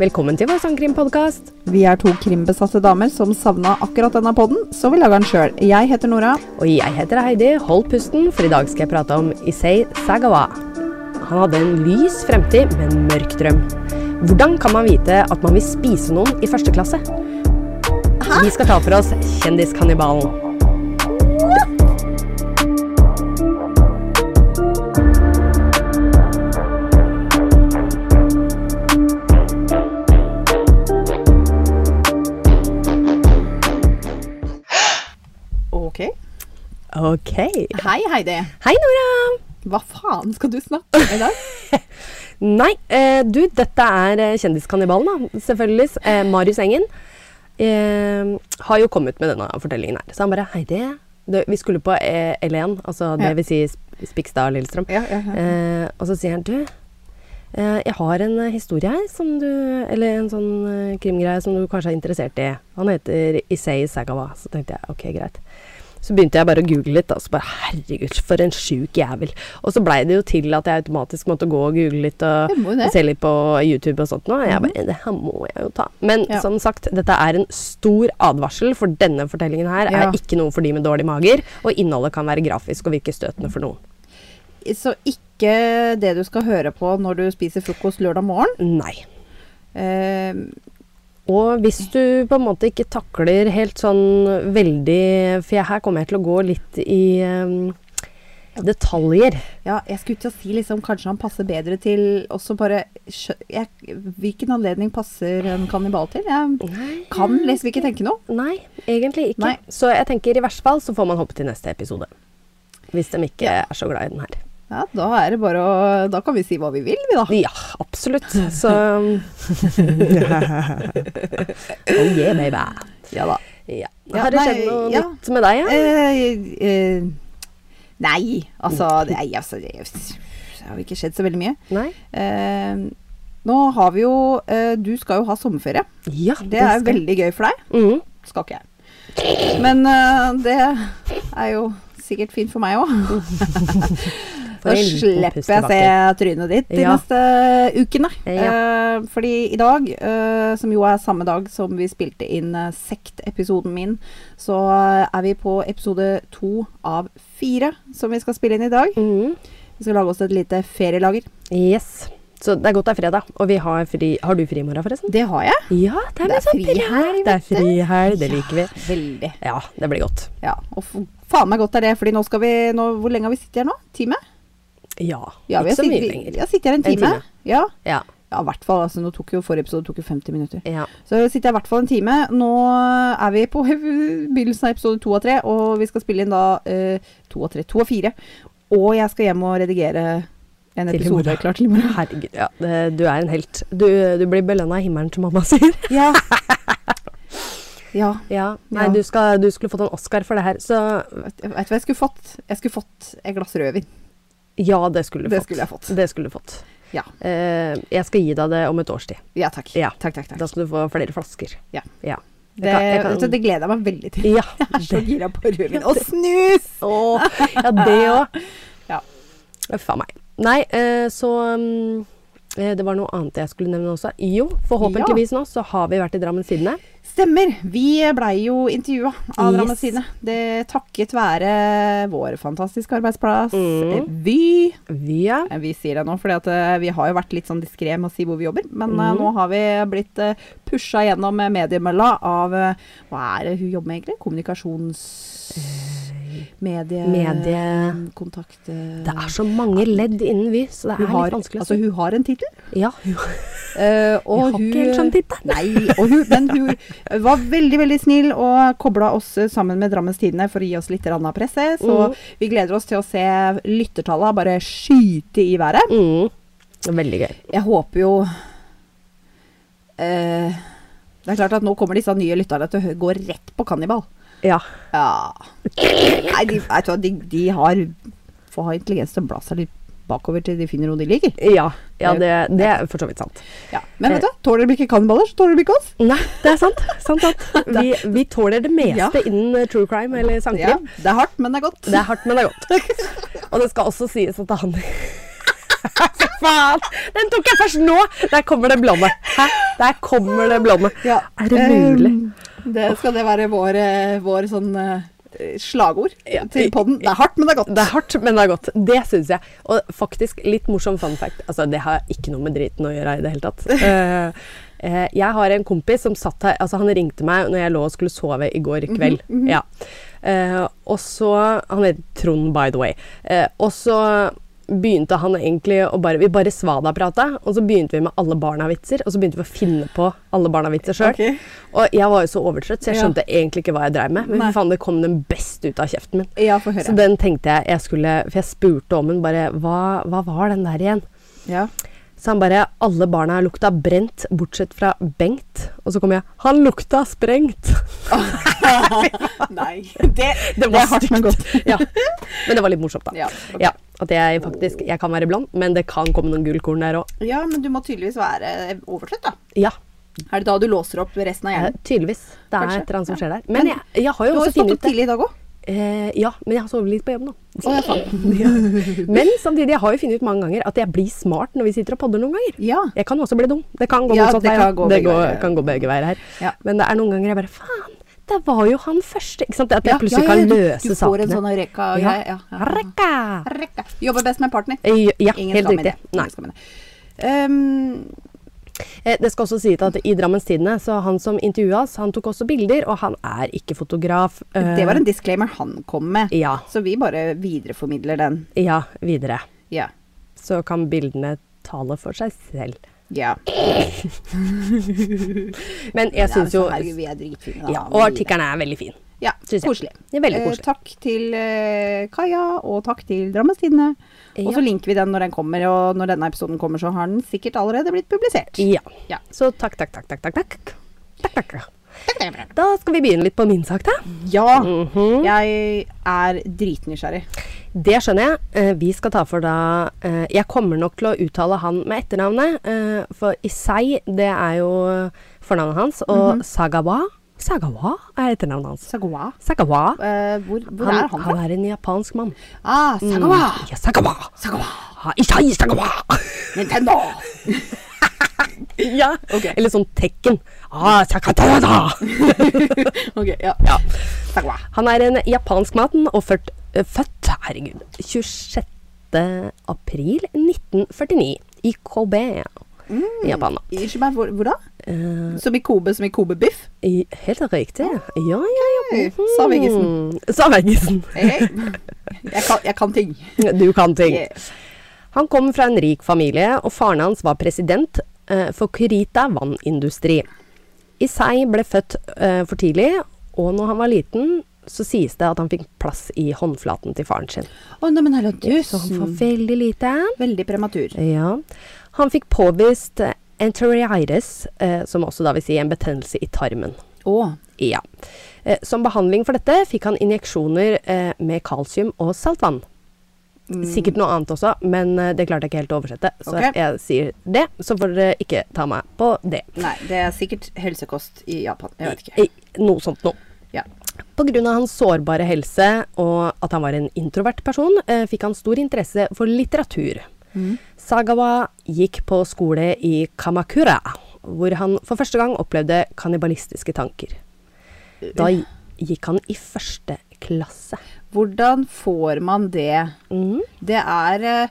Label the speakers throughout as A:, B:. A: Velkommen til vår sangkrimpodkast.
B: Vi er to krimbesatte damer som savna akkurat denne podden, så vi lager den sjøl. Jeg heter Nora.
A: Og jeg heter Heidi. Hold pusten, for i dag skal jeg prate om Issei Sagawa. Han hadde en lys fremtid, men mørk drøm. Hvordan kan man vite at man vil spise noen i første klasse? Vi skal ta for oss Kjendiskannibalen.
B: Ok.
A: Ok.
B: Hei, Heidi.
A: Hei, Nora.
B: Hva faen skal du snakke om i dag?
A: Nei, eh, du, dette er eh, Kjendiskannibalen, da. Selvfølgelig. Eh, Marius Engen eh, har jo kommet med denne fortellingen her. Så han bare Heidi, det, vi skulle på eh, L1, altså det
B: Ja.
A: vil si Sp- Spikstad og Lillestrøm.
B: Ja, ja, ja.
A: Eh, og så sier han du, eh, jeg har en eh, historie her som du Eller en sånn eh, krimgreie som du kanskje er interessert i. Han heter Issei Sagawa. Så tenkte jeg ok, greit. Så begynte jeg bare å google litt, da. Så bare herregud, for en sjuk jævel. Og så blei det jo til at jeg automatisk måtte gå og google litt og
B: Jeg må jo det. Mhm.
A: se litt på YouTube og sånt nå. Og jeg bare det her må jeg jo ta. Men
B: Ja.
A: som sagt, dette er en stor advarsel, for denne fortellingen her
B: Ja.
A: er ikke noe for de med dårlig mager. Og innholdet kan være grafisk og virke støtende for noen.
B: Så ikke det du skal høre på når du spiser frokost lørdag morgen.
A: Nei.
B: Eh,
A: Og hvis du på en måte ikke takler helt sånn veldig For jeg, her kommer jeg til å gå litt i ehm, detaljer.
B: ja, jeg skulle til å si liksom kanskje han passer bedre til også bare skjø- jeg, Hvilken anledning passer en kannibal til? Jeg
A: Nei,
B: kan liksom ikke tenke noe.
A: Nei egentlig ikke.
B: Nei.
A: Så jeg tenker i verste fall så får man hoppe til neste episode. Hvis de ikke er så glad i den her.
B: Ja, da er det bare å Da kan vi si hva vi vil, vi, da.
A: Ja, absolutt. Så Oh yeah, baby.
B: Ja da.
A: Ja.
B: Ja,
A: Har det skjedd
B: nei,
A: noe
B: ja.
A: nytt med deg? Ja?
B: Eh, eh, nei, altså det, nei, altså det, det har ikke skjedd så veldig mye.
A: Nei?
B: Eh, nå har vi jo eh, Du skal jo ha sommerferie.
A: Ja,
B: Det er
A: skal-
B: jo veldig gøy for deg.
A: Mhm.
B: Skal ikke jeg. Men eh, det er jo sikkert fint for meg òg.
A: For
B: Da
A: en liten
B: slipper jeg å se
A: pustebakke.
B: trynet ditt de
A: Ja.
B: neste ukene.
A: Ja.
B: Eh, fordi i dag, eh, som jo er samme dag som vi spilte inn eh, sektepisoden min, så eh, er vi på episode to av fire som vi skal spille inn i dag.
A: Mhm.
B: Vi skal lage oss et lite ferielager.
A: Yes. Så det er godt det er fredag, og vi har fri Har du fri i morgen, forresten?
B: Det har jeg.
A: Ja, det
B: Det er
A: liksom
B: frihelg,
A: Det er frihelg, det liker vi.
B: Veldig.
A: Ja, det blir godt.
B: Ja, og f- faen meg godt er det, fordi nå skal vi nå, Hvor lenge har vi sittet her nå? Time?
A: Ja,
B: Ja,
A: ikke
B: vi har
A: så mye
B: sittet- vi-
A: lenger.
B: Ja, sitter her en time.
A: time.
B: Ja,
A: Ja,
B: ja i hvert fall. Altså, nå tok jo forrige episode tok jo 50 minutter.
A: ja.
B: Så sitter jeg i hvert fall en time. Nå er vi på begynnelsen av episode to og tre, og vi skal spille inn da eh, to og tre, to og fire. Og jeg skal hjem og redigere en
A: Til i
B: episode
A: morgen.
B: klar til i morgen.
A: Herregud, ja, det, du er en helt. Du, du blir belønna i himmelen, som mamma sier.
B: Ja. ja.
A: Ja, Nei,
B: Ja.
A: Du, skal, du skulle fått en Oscar for det her, så
B: Vet vet du hva jeg skulle fått? Jeg skulle fått et glass rødvin.
A: ja, det skulle du
B: Det
A: fått.
B: skulle jeg fått.
A: Det skulle du fått.
B: Ja.
A: Eh, jeg skal gi deg det om et års tid.
B: Ja, takk.
A: Ja.
B: Takk, takk, takk.
A: Da skal du få flere flasker.
B: Ja.
A: ja.
B: Det,
A: Jeg kan- jeg kan-
B: vet du, det gleder jeg meg veldig til.
A: Ja,
B: Jeg er så
A: det-
B: gira på rødvin. Og snus!
A: Åh, ja, det òg.
B: Ja.
A: Uff a meg. Nei, eh, så mm, eh, Det var noe annet jeg skulle nevne også. Jo, forhåpentligvis nå så har vi vært i Drammen Sidene.
B: Stemmer. Vi blei jo intervjua av
A: Yes.
B: Drammens Tidende. Det takket være vår fantastiske arbeidsplass,
A: Mm.
B: Vy.
A: Via
B: Eh, Vi sier det nå, for vi har jo vært litt sånn diskré med å si hvor vi jobber. Men
A: Mm.
B: eh, nå har vi blitt uh, pusha gjennom eh, mediemølla av eh, Hva er det hun jobber med, egentlig? Kommunikasjons... Medie...
A: Eh, medie...
B: Kontakt...
A: Det er så mange ledd innen Vy, så det
B: hun
A: er
B: har,
A: litt vanskelig. å
B: altså,
A: si.
B: hun har en tittel.
A: ja,
B: Eh,
A: Jeg
B: og
A: har
B: hun,
A: ikke sånn helt skjønt dette.
B: Nei, og hun, men hun var veldig veldig snill og kobla oss eh, sammen med Drammens Tidende for å gi oss litt grann av presse. Så
A: Mhm.
B: vi gleder oss til å se lyttertallene bare skyte i været.
A: mm, veldig gøy.
B: Jeg håper jo eh, Det er klart at nå kommer disse nye lytterne til å hø- gå rett på kannibal.
A: Ja.
B: Ja. Nei, de, vet du hva, de, de har får ha intelligens til å bla seg litt bakover til de finner noe de liker.
A: Ja, ja det, det er for så vidt sant.
B: Ja. Men vet du, hva, tåler de ikke kannibaler, så tåler de ikke oss.
A: Nei, det er sant. sant, sant. Vi, vi tåler det meste
B: Ja.
A: innen eh, true crime eller
B: Ja,
A: sangkrim.
B: det er hardt, men det er godt.
A: Det er hardt, men det er godt. Og det skal også sies at han Fy faen! Den tok jeg først nå! Der kommer det blonde. Hæ? Der kommer det blonde.
B: Ja,
A: Er det mulig?
B: ehm, Det skal det være vår, eh, vår sånn eh, slagord
A: Ja.
B: til podden. Det er hardt, men det er godt.
A: Det er hardt, men det er godt. Det syns jeg. Og faktisk, litt morsom fun fact. Altså, det har ikke noe med driten å gjøre i det hele tatt. Eh, eh, jeg har en kompis som satt her Altså, han ringte meg når jeg lå og skulle sove i går
B: Mhm,
A: kveld. Ja. Eh, og så Han heter Trond, by the way. Eh, og så begynte han egentlig å bare Vi bare svada-prata, og så begynte vi med alle barna-vitser. Og så begynte vi å finne på alle barna-vitser sjøl.
B: Ok.
A: Og jeg var jo så overtrøtt, så jeg
B: Ja.
A: skjønte egentlig ikke hva jeg dreiv med. Men
B: Nei.
A: fy faen, det kom den beste ut av kjeften min.
B: Ja, få høre.
A: Så den tenkte jeg jeg skulle For jeg spurte om den bare hva, hva var den der igjen?
B: Ja.
A: Så han bare Alle barna lukta brent, bortsett fra Bengt. Og så kom jeg Han lukta sprengt!
B: Nei, det,
A: Det
B: er hardt, men godt.
A: ja. Men det var litt morsomt, da.
B: Ja, ok.
A: Ja, At jeg faktisk Jeg kan være blond, men det kan komme noen gullkorn der òg.
B: ja, men du må tydeligvis være eh, overtrøtt, da.
A: Ja.
B: Er det da du låser opp resten av
A: eh,
B: hjernen?
A: Tydeligvis. Det er
B: Kanskje.
A: et eller annet som
B: Ja.
A: skjer der. Men jeg, jeg har jo
B: Du har jo
A: også funnet
B: stått opp
A: ut det.
B: tidlig i dag òg.
A: Eh, ja, men jeg har sovet litt på jobb nå.
B: Å, ja, faen.
A: Men samtidig, jeg har jo funnet ut mange ganger at jeg blir smart når vi sitter og podder noen ganger.
B: Ja.
A: Jeg kan også bli dum. Det kan gå
B: Ja,
A: motsatt
B: det
A: vei.
B: kan
A: ja.
B: gå
A: det
B: begge
A: går,
B: veier.
A: kan gå begge veier her.
B: Ja.
A: Men det er noen ganger jeg bare Faen, det var jo han første! Ikke sant? At jeg plutselig
B: ja, ja,
A: kan
B: du-
A: løse
B: Du får en
A: sakene.
B: sånn rekka
A: ja.
B: greie. Ja, ja, ja.
A: Rekka!
B: Rekka. Du jobber best med partner.
A: Eh, Ja,
B: Ingen
A: helt
B: skam i det.
A: riktig. Nei.
B: Ingen skam i det. Ehm,
A: Eh, Det skal også sies at i Drammens Tidende, så han som intervjua oss, han tok også bilder, og han er ikke fotograf. Eh,
B: det var en disclaimer han kom med,
A: Ja.
B: så vi bare videreformidler den.
A: Ja, videre.
B: Ja.
A: Så kan bildene tale for seg selv.
B: ja.
A: Men jeg
B: Nei, men
A: syns jo
B: så Herregud, vi er dritfine, da.
A: ja,
B: Vi-
A: Og artikkelen er veldig fin.
B: Ja,
A: synes jeg.
B: koselig.
A: Det er veldig
B: Eh,
A: koselig.
B: takk til eh, Kaja, og takk til Drammens Tidende. Og
A: Ja.
B: så linker vi den når den kommer, og når denne episoden kommer, så har den sikkert allerede blitt publisert.
A: Ja.
B: Ja.
A: Så takk, takk, takk, takk, takk. takk. Takk, takk. Da skal vi begynne litt på min sak, da.
B: Ja, Mhm.
A: Mhm.
B: jeg er dritnysgjerrig.
A: Det skjønner jeg. Eh, vi skal ta for da eh, Jeg kommer nok til å uttale han med etternavnet. eh, for Isai, det er jo fornavnet hans. Og
B: Mhm.
A: Sagawa Sagawa er etternavnet hans.
B: Sagawa.
A: Sagawa.
B: Eh, hvor hvor er han fra?
A: han Mm. er en japansk mann.
B: Ah, Sagawa!
A: Ja, Sagawa.
B: Sagawa!
A: Ha, Isai Sagawa.
B: Nintendo!
A: ja.
B: Ok.
A: Eller sånn Tekken. Ah, Sakatada.
B: Ok, ja.
A: ja.
B: Sagawa.
A: Han er en japansk mann og ført, eh, født herregud, 26. april 1949 i Kobe
B: Mm.
A: i Japan. da.
B: Unnskyld meg, hvor, hvor da?
A: Eh,
B: Som i Kobe, som i Kobe-biff?
A: i- helt riktig. Ja, ja, ja.
B: Hey, sa Veggesen.
A: Mm, Sa Veggesen.
B: Hei, hei. Jeg kan, jeg kan ting.
A: Du kan ting.
B: Yeah.
A: Han kom fra en rik familie, og faren hans var president eh, for Kurita vannindustri. Isai ble født eh, for tidlig, og når han var liten, så sies det at han fikk plass i håndflaten til faren sin.
B: Å, nei, men herre
A: Så han
B: tusen.
A: var veldig liten.
B: Veldig prematur.
A: Ja. Han fikk påvist eh, enteritis, eh, som også da vil si en betennelse i tarmen.
B: Å,
A: Ja. Eh, som behandling for dette fikk han injeksjoner eh, med kalsium og saltvann. Sikkert noe annet også, men eh, det klarte jeg ikke helt å oversette. Så
B: Mm. Ok.
A: jeg sier det, så får dere ikke ta meg på det.
B: nei, det er sikkert helsekost i Japan. Jeg vet ikke.
A: I, noe sånt noe.
B: Ja.
A: På grunn av hans sårbare helse og at han var en introvert person, eh, fikk han stor interesse for litteratur. Sagawa gikk på skole i Kamakura, hvor han for første gang opplevde kannibalistiske tanker. Da gi- gikk han i første klasse.
B: Hvordan får man det?
A: Mhm.
B: Det er, eh,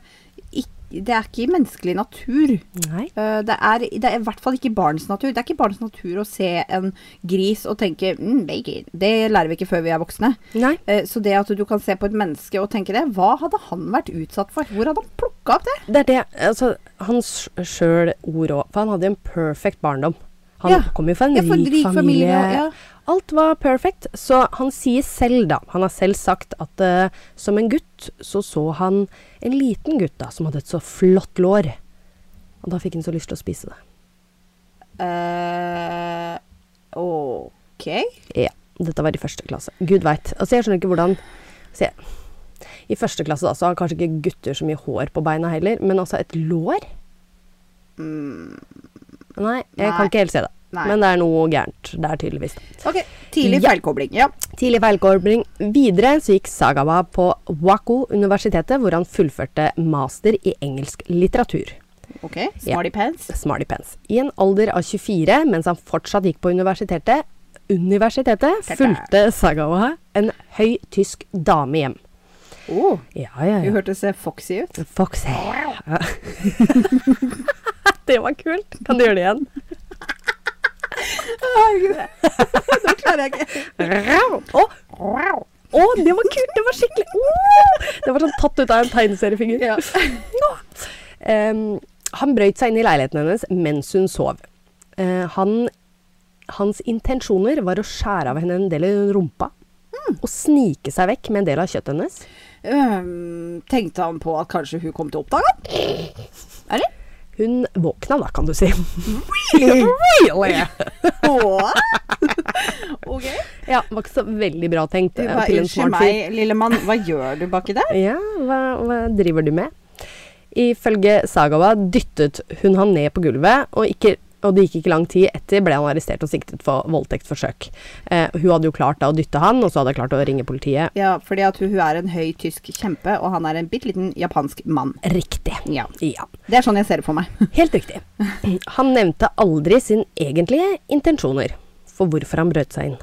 B: ikk- det er ikke i menneskelig natur.
A: Nei.
B: Eh, Det er, det er i hvert fall ikke i barns natur. Det er ikke i barns natur å se en gris og tenke mm, bacon. Det lærer vi ikke før vi er voksne.
A: Nei.
B: Eh, Så det at du kan se på et menneske og tenke det, hva hadde han vært utsatt for? Hvor hadde han plukka opp det?
A: Det er det altså, Hans sjøl ord òg. For han hadde en perfect barndom. Han
B: Ja.
A: kom jo fra en
B: Ja,
A: rik,
B: for en rik familie,
A: familie.
B: ja.
A: Alt var perfect. Så han sier selv, da Han har selv sagt at eh, som en gutt så så han en liten gutt da som hadde et så flott lår. Og da fikk han så lyst til å spise det.
B: Eh, ok.
A: Ja. Dette var i første klasse. Gud veit. Altså, jeg skjønner ikke hvordan se, I første klasse da, så har kanskje ikke gutter så mye hår på beina heller, men altså et lår? Nei, jeg
B: Nei.
A: kan ikke helt se det.
B: Mm. Nei.
A: Men det er noe gærent der, tydeligvis.
B: Ok, Tidlig
A: Ja.
B: feilkobling. Ja.
A: Tidlig feilkobling. Videre så gikk Sagawa på Waco-universitetet, hvor han fullførte master i engelsk litteratur.
B: Ok, Smarty pants.
A: Smarty pants. I en alder av 24, mens han fortsatt gikk på universitetet, universitetet
B: Tete.
A: fulgte Sagawa en høy tysk dame hjem.
B: Oh,
A: Ja, ja,
B: Hun
A: ja.
B: hørtes eh, foxy ut.
A: Foxy. Ja. det var kult. Kan du gjøre det igjen?
B: Nå klarer jeg ikke.
A: Å, å, det var kult! Det var skikkelig Å! Det var sånn tatt ut av en tegneseriefigur.
B: Ja.
A: Em, han brøyt seg inn i leiligheten hennes mens hun sov. Eh, han, hans intensjoner var å skjære av henne en del av rumpa. Og snike seg vekk med en del av kjøttet hennes.
B: Øhm, Ehm, tenkte han på at kanskje hun kom til å oppdage han? Er det?
A: Hun våkna da, kan du si.
B: Åh. ok.
A: Ja, var ikke så veldig bra tenkt
B: Du
A: eh,
B: bare,
A: til en
B: Unnskyld
A: smart fyr.
B: meg, lille mann, hva gjør du baki der?
A: Ja, hva, hva driver du med? Ifølge Sagawa dyttet hun han ned på gulvet, og, ikke, og det gikk ikke lang tid etter ble han arrestert og siktet for voldtektsforsøk. Eh, hun hadde jo klart da å dytte han, og så hadde hun klart å ringe politiet.
B: Ja, fordi at hun, hun er en høy tysk kjempe, og han er en bitte liten japansk mann.
A: Riktig.
B: Ja.
A: Ja,
B: Det er sånn jeg ser det for meg.
A: helt riktig. Han nevnte aldri sin egentlige intensjoner for hvorfor han brøt seg inn.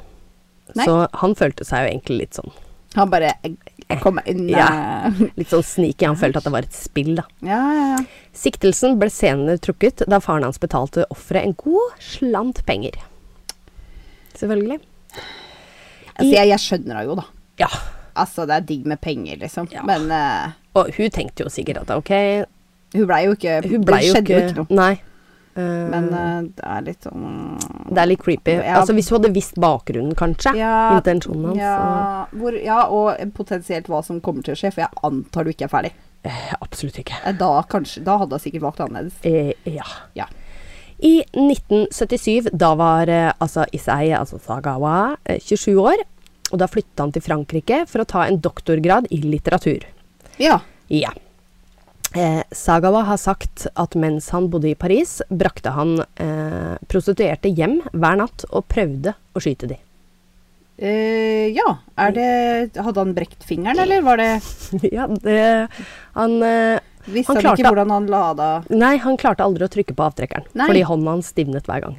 B: Nei.
A: Så han følte seg jo egentlig litt sånn,
B: Han bare jeg, jeg kommer inn
A: Ja.
B: eh.
A: litt sånn sneaky. Han følte at det var et spill, da.
B: ja, ja, ja.
A: Siktelsen ble senere trukket da faren hans betalte offeret en god slant penger. Selvfølgelig.
B: Altså, jeg, jeg skjønner henne jo, da.
A: Ja.
B: Altså, det er digg med penger, liksom.
A: Ja.
B: Men eh,
A: Og hun tenkte jo sikkert at ok
B: hun blei jo ikke
A: Hun blei
B: Det
A: jo
B: skjedde
A: ikke,
B: jo ikke noe.
A: Nei. Eh,
B: Men eh, det er litt sånn
A: det er litt creepy.
B: Ja.
A: Altså Hvis hun hadde visst bakgrunnen, kanskje.
B: Ja,
A: Intensjonen hans.
B: Ja, hvor, ja, og potensielt hva som kommer til å skje, for jeg antar du ikke er ferdig.
A: og- Eh, absolutt ikke.
B: Eh, Da, kanskje, da hadde jeg sikkert valgt annerledes.
A: Eh, ja.
B: Ja.
A: I 1977, da var eh, altså Isai, altså Sagawa, eh, 27 år. Og da flytta han til Frankrike for å ta en doktorgrad i litteratur.
B: ja.
A: Ja. Eh, Sagawa har sagt at mens han bodde i Paris, brakte han eh, prostituerte hjem hver natt og prøvde å skyte de.
B: Eh, ja. Er det, hadde han brekt fingeren, eller var det
A: ja, det Han eh,
B: Visste
A: Han
B: han, ikke
A: klarte-
B: hvordan han lada
A: Nei, han klarte aldri å trykke på avtrekkeren,
B: Nei.
A: fordi hånda hans stivnet hver gang.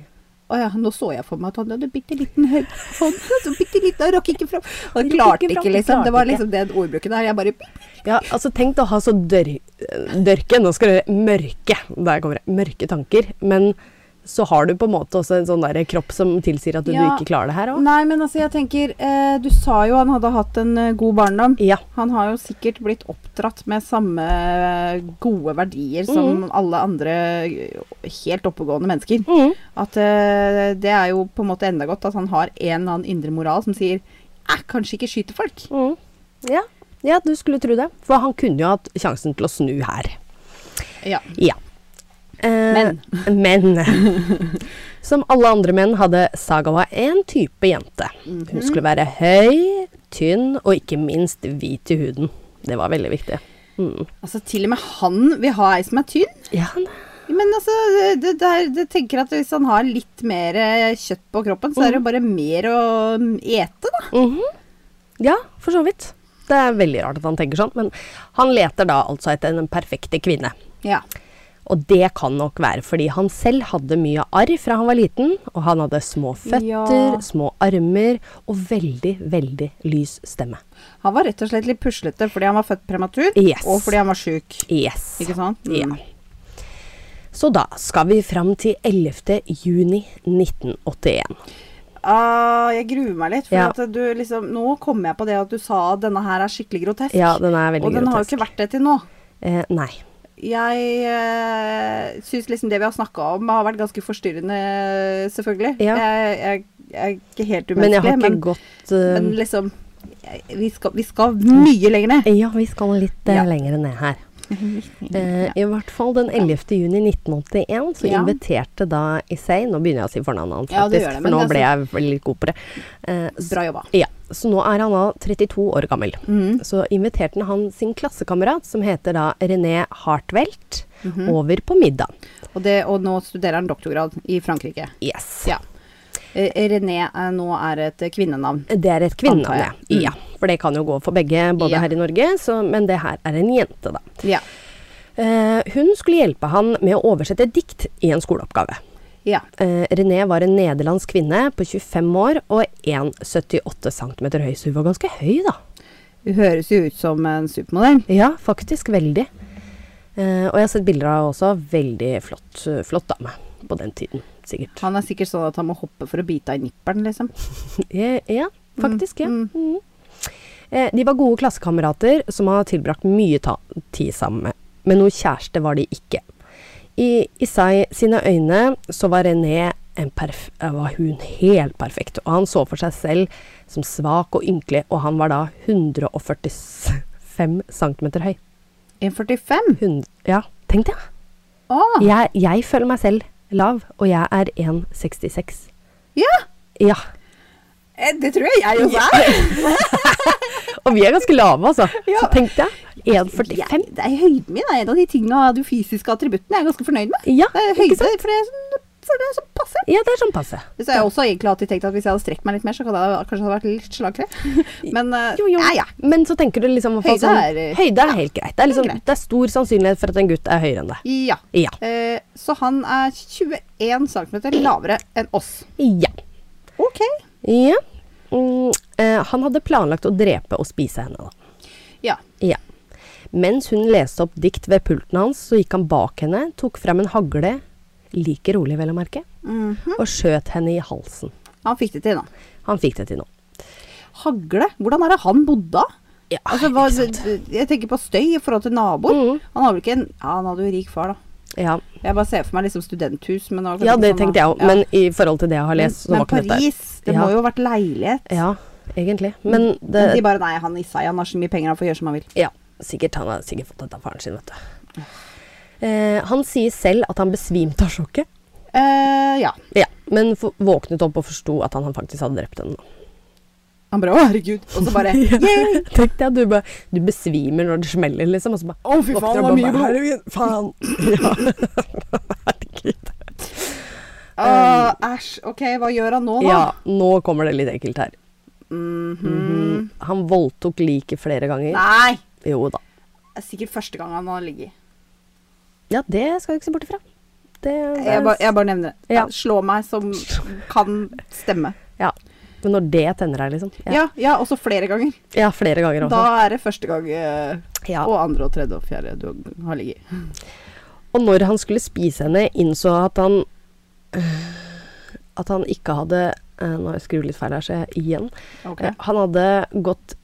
B: Å ja, nå så jeg for meg at han hadde bitte liten høy hånd. Så bitte liten, han rakk ikke fram. Han klarte
A: ikke fram,
B: ikke,
A: han
B: liksom. Det
A: klarte
B: var
A: ikke.
B: liksom den ordbruken der. Jeg bare
A: Ja, altså Tenk deg å ha så dør, eh, dørke Nå skal dere mørke. Der kommer det. Mørke tanker. Men så har du på en måte også en sånn der kropp som tilsier at du,
B: Ja.
A: ikke klarer det her òg.
B: Nei, men altså, jeg tenker eh, Du sa jo han hadde hatt en eh, god barndom.
A: Ja.
B: Han har jo sikkert blitt oppdratt med samme eh, gode verdier som
A: Mm.
B: alle andre eh, helt oppegående mennesker.
A: Mhm.
B: At eh, det er jo på en måte enda godt at han har en eller annen indre moral som sier Æh, kanskje ikke skyte folk.
A: Mm. Ja. ja, du skulle tro det. For han kunne jo hatt sjansen til å snu her.
B: Ja.
A: Ja. Eh, men. Som alle andre menn hadde Sagawa én type jente.
B: Mhm.
A: Hun skulle være høy, tynn og ikke minst hvit i huden. Det var veldig viktig. Mm.
B: Altså, til og med han vil ha ei som er tynn.
A: Ja,
B: Men altså, det, det, er- det tenker at hvis han har litt mer eh, kjøtt på kroppen, så er det jo bare mer å mm, ete, da.
A: mhm. ja, for så vidt. Det er veldig rart at han tenker sånn, men han leter da altså etter den perfekte kvinne.
B: Ja.
A: Og det kan nok være fordi han selv hadde mye arr fra han var liten, og han hadde små føtter,
B: Ja.
A: små armer og veldig, veldig lys stemme.
B: Han var rett og slett litt puslete fordi han var født prematur,
A: Yes.
B: og fordi han var sjuk.
A: Yes.
B: Ikke sant? Mm.
A: Ja. Så da skal vi fram til 11. juni 1981.
B: Ah, jeg gruer meg litt, for
A: Ja.
B: at du liksom Nå kom jeg på det at du sa at denne her er skikkelig grotesk.
A: Ja, den er
B: og
A: veldig
B: den har jo
A: grotesk.
B: ikke vært det til nå.
A: Eh, nei.
B: Jeg eh, syns liksom det vi har snakka om har vært ganske forstyrrende, selvfølgelig.
A: Ja.
B: Jeg, jeg, jeg er ikke helt
A: Men jeg
B: umenneskelig,
A: har ikke
B: men,
A: gått eh,
B: men liksom jeg, vi, skal, vi skal mye lenger ned.
A: Ja, vi skal litt eh,
B: Ja.
A: lenger ned her. Eh, I hvert fall den 11. juni 1981 så
B: Ja.
A: inviterte da Issei Nå begynner jeg å si fornavnet hans,
B: Ja, det
A: faktisk,
B: gjør det, men
A: for nå
B: det er
A: ble jeg veldig litt god på det. Eh, s-
B: Bra Mhm. jobba.
A: Ja, så nå er han da 32 år gammel. Så inviterte han sin klassekamerat, som heter da René Hartvelt,
B: Mhm.
A: over på middag.
B: Og, det, og nå studerer han doktorgrad i Frankrike.
A: Yes.
B: Ja. Eh, René eh, nå er et eh, kvinnenavn.
A: Det er et
B: Antar
A: kvinnenavn,
B: jeg.
A: ja. ja. Mm. For det kan jo gå for begge, både
B: Ja.
A: her i Norge, så, men det her er en jente, da.
B: Ja.
A: Eh, hun skulle hjelpe han med å oversette dikt i en skoleoppgave.
B: ja.
A: Eh, René var en nederlandsk kvinne på 25 år og 1,78 cm høy, så hun var ganske høy, da.
B: Hun høres jo ut som en supermodell.
A: Ja, faktisk. Veldig. Eh, og jeg har sett bilder av henne også. Veldig flott, eh, flott dame på den tiden, sikkert.
B: Han er sikkert sånn at han må hoppe for å bite av nipperen, liksom.
A: Eh, ja, faktisk. Ja.
B: Mm,
A: Mhm. Eh, de var gode klassekamerater som har tilbrakt mye ta tid sammen, men noe kjæreste var de ikke. I Isai sine øyne så var René en perf eh, var hun helt perfekt, og han så for seg selv som svak og ynkelig, og han var da 145 cm høy.
B: 1,45?
A: Hun- ja, tenk det.
B: Ah. Å!
A: Jeg, jeg føler meg selv lav, og jeg er 1,66.
B: Ja!
A: Ja.
B: eh, Det tror jeg jeg også er.
A: Og vi er ganske lave, altså.
B: Ja.
A: Så tenk deg. 1,45.
B: Jeg- Det er høyden min. Det er en av de tinga, de fysiske attributtene, jeg er ganske fornøyd med.
A: Ja,
B: Det er
A: ikke
B: høyde,
A: sant?
B: for det er sånn, for det er sånn passe.
A: Ja, det er sånn passe.
B: Så jeg har også egentlig alltid tenkt at hvis jeg hadde strekt meg litt mer, så hadde jeg kanskje hadde vært litt slagkrem. Men eh,
A: Jo, jo.
B: ja, ja.
A: Men så tenker du liksom i hvert fall
B: Høyde
A: sånn-
B: er-
A: Høyde er helt greit. Det er, liksom,
B: greit.
A: det er stor sannsynlighet for at en gutt er høyere enn deg.
B: Ja.
A: Ja.
B: Eh, så han er 21 cm lavere enn oss.
A: Ja.
B: Ok.
A: ja. Mm, eh, han hadde planlagt å drepe og spise henne, da.
B: Ja.
A: Ja. Mens hun leste opp dikt ved pulten hans, så gikk han bak henne, tok frem en hagle, like rolig vel å merke,
B: Mhm.
A: og skjøt henne i halsen.
B: Han fikk det til, da.
A: Han fikk det til nå.
B: Hagle? Hvordan er det han bodde da?
A: Ja,
B: Altså, hva,
A: ikke sant. Mm.
B: jeg tenker på støy i forhold til naboer. Han hadde vel ikke en Ja, han hadde jo rik far, da.
A: Ja.
B: Jeg bare ser for meg liksom studenthus, men
A: ja, det tenkte jeg òg, men i forhold til det jeg har lest, så
B: sånn Men
A: var ikke dette
B: Paris, det
A: Ja.
B: må jo ha vært leilighet.
A: Ja, egentlig. Men
B: Men de
A: det
B: bare Nei, han Isai, han har så mye penger, han får gjøre som han vil.
A: Ja, sikkert. Han har sikkert fått dette av faren sin, vet du. Eh, han sier selv at han besvimte av sjokket,
B: eh ja.
A: Ja, men f våknet opp og forsto at han faktisk hadde drept henne.
B: Han bare Å, herregud. Og så bare
A: Ja.
B: Yay!
A: Tenk deg at du, bare, du besvimer når det smeller, liksom. Og så bare
B: Å, fy faen, det var mye blod.
A: Herregud, faen. Ja. Herregud.
B: Åh, Ah, Æsj. Ok, hva gjør han nå, da?
A: Ja, nå kommer det litt ekkelt her.
B: Mhm.
A: Han voldtok liket flere ganger.
B: Nei!
A: Jo da.
B: Det er sikkert første gang han har ligget.
A: Ja, det skal du ikke se bort ifra. Det,
B: Jeg, bare- jeg bare nevner det.
A: Ja.
B: Slå meg som kan stemme.
A: Ja. Men når det tenner deg, liksom.
B: Ja, ja, også flere ganger.
A: Ja, flere ganger også.
B: Da er det første gang eh,
A: Ja.
B: og andre og tredje og fjerde du har ligget.
A: Og når han skulle spise henne, innså han at han At han ikke hadde eh, Nå har jeg skrudd litt feil her, så jeg igjen.
B: Ok.
A: Eh, Han hadde gått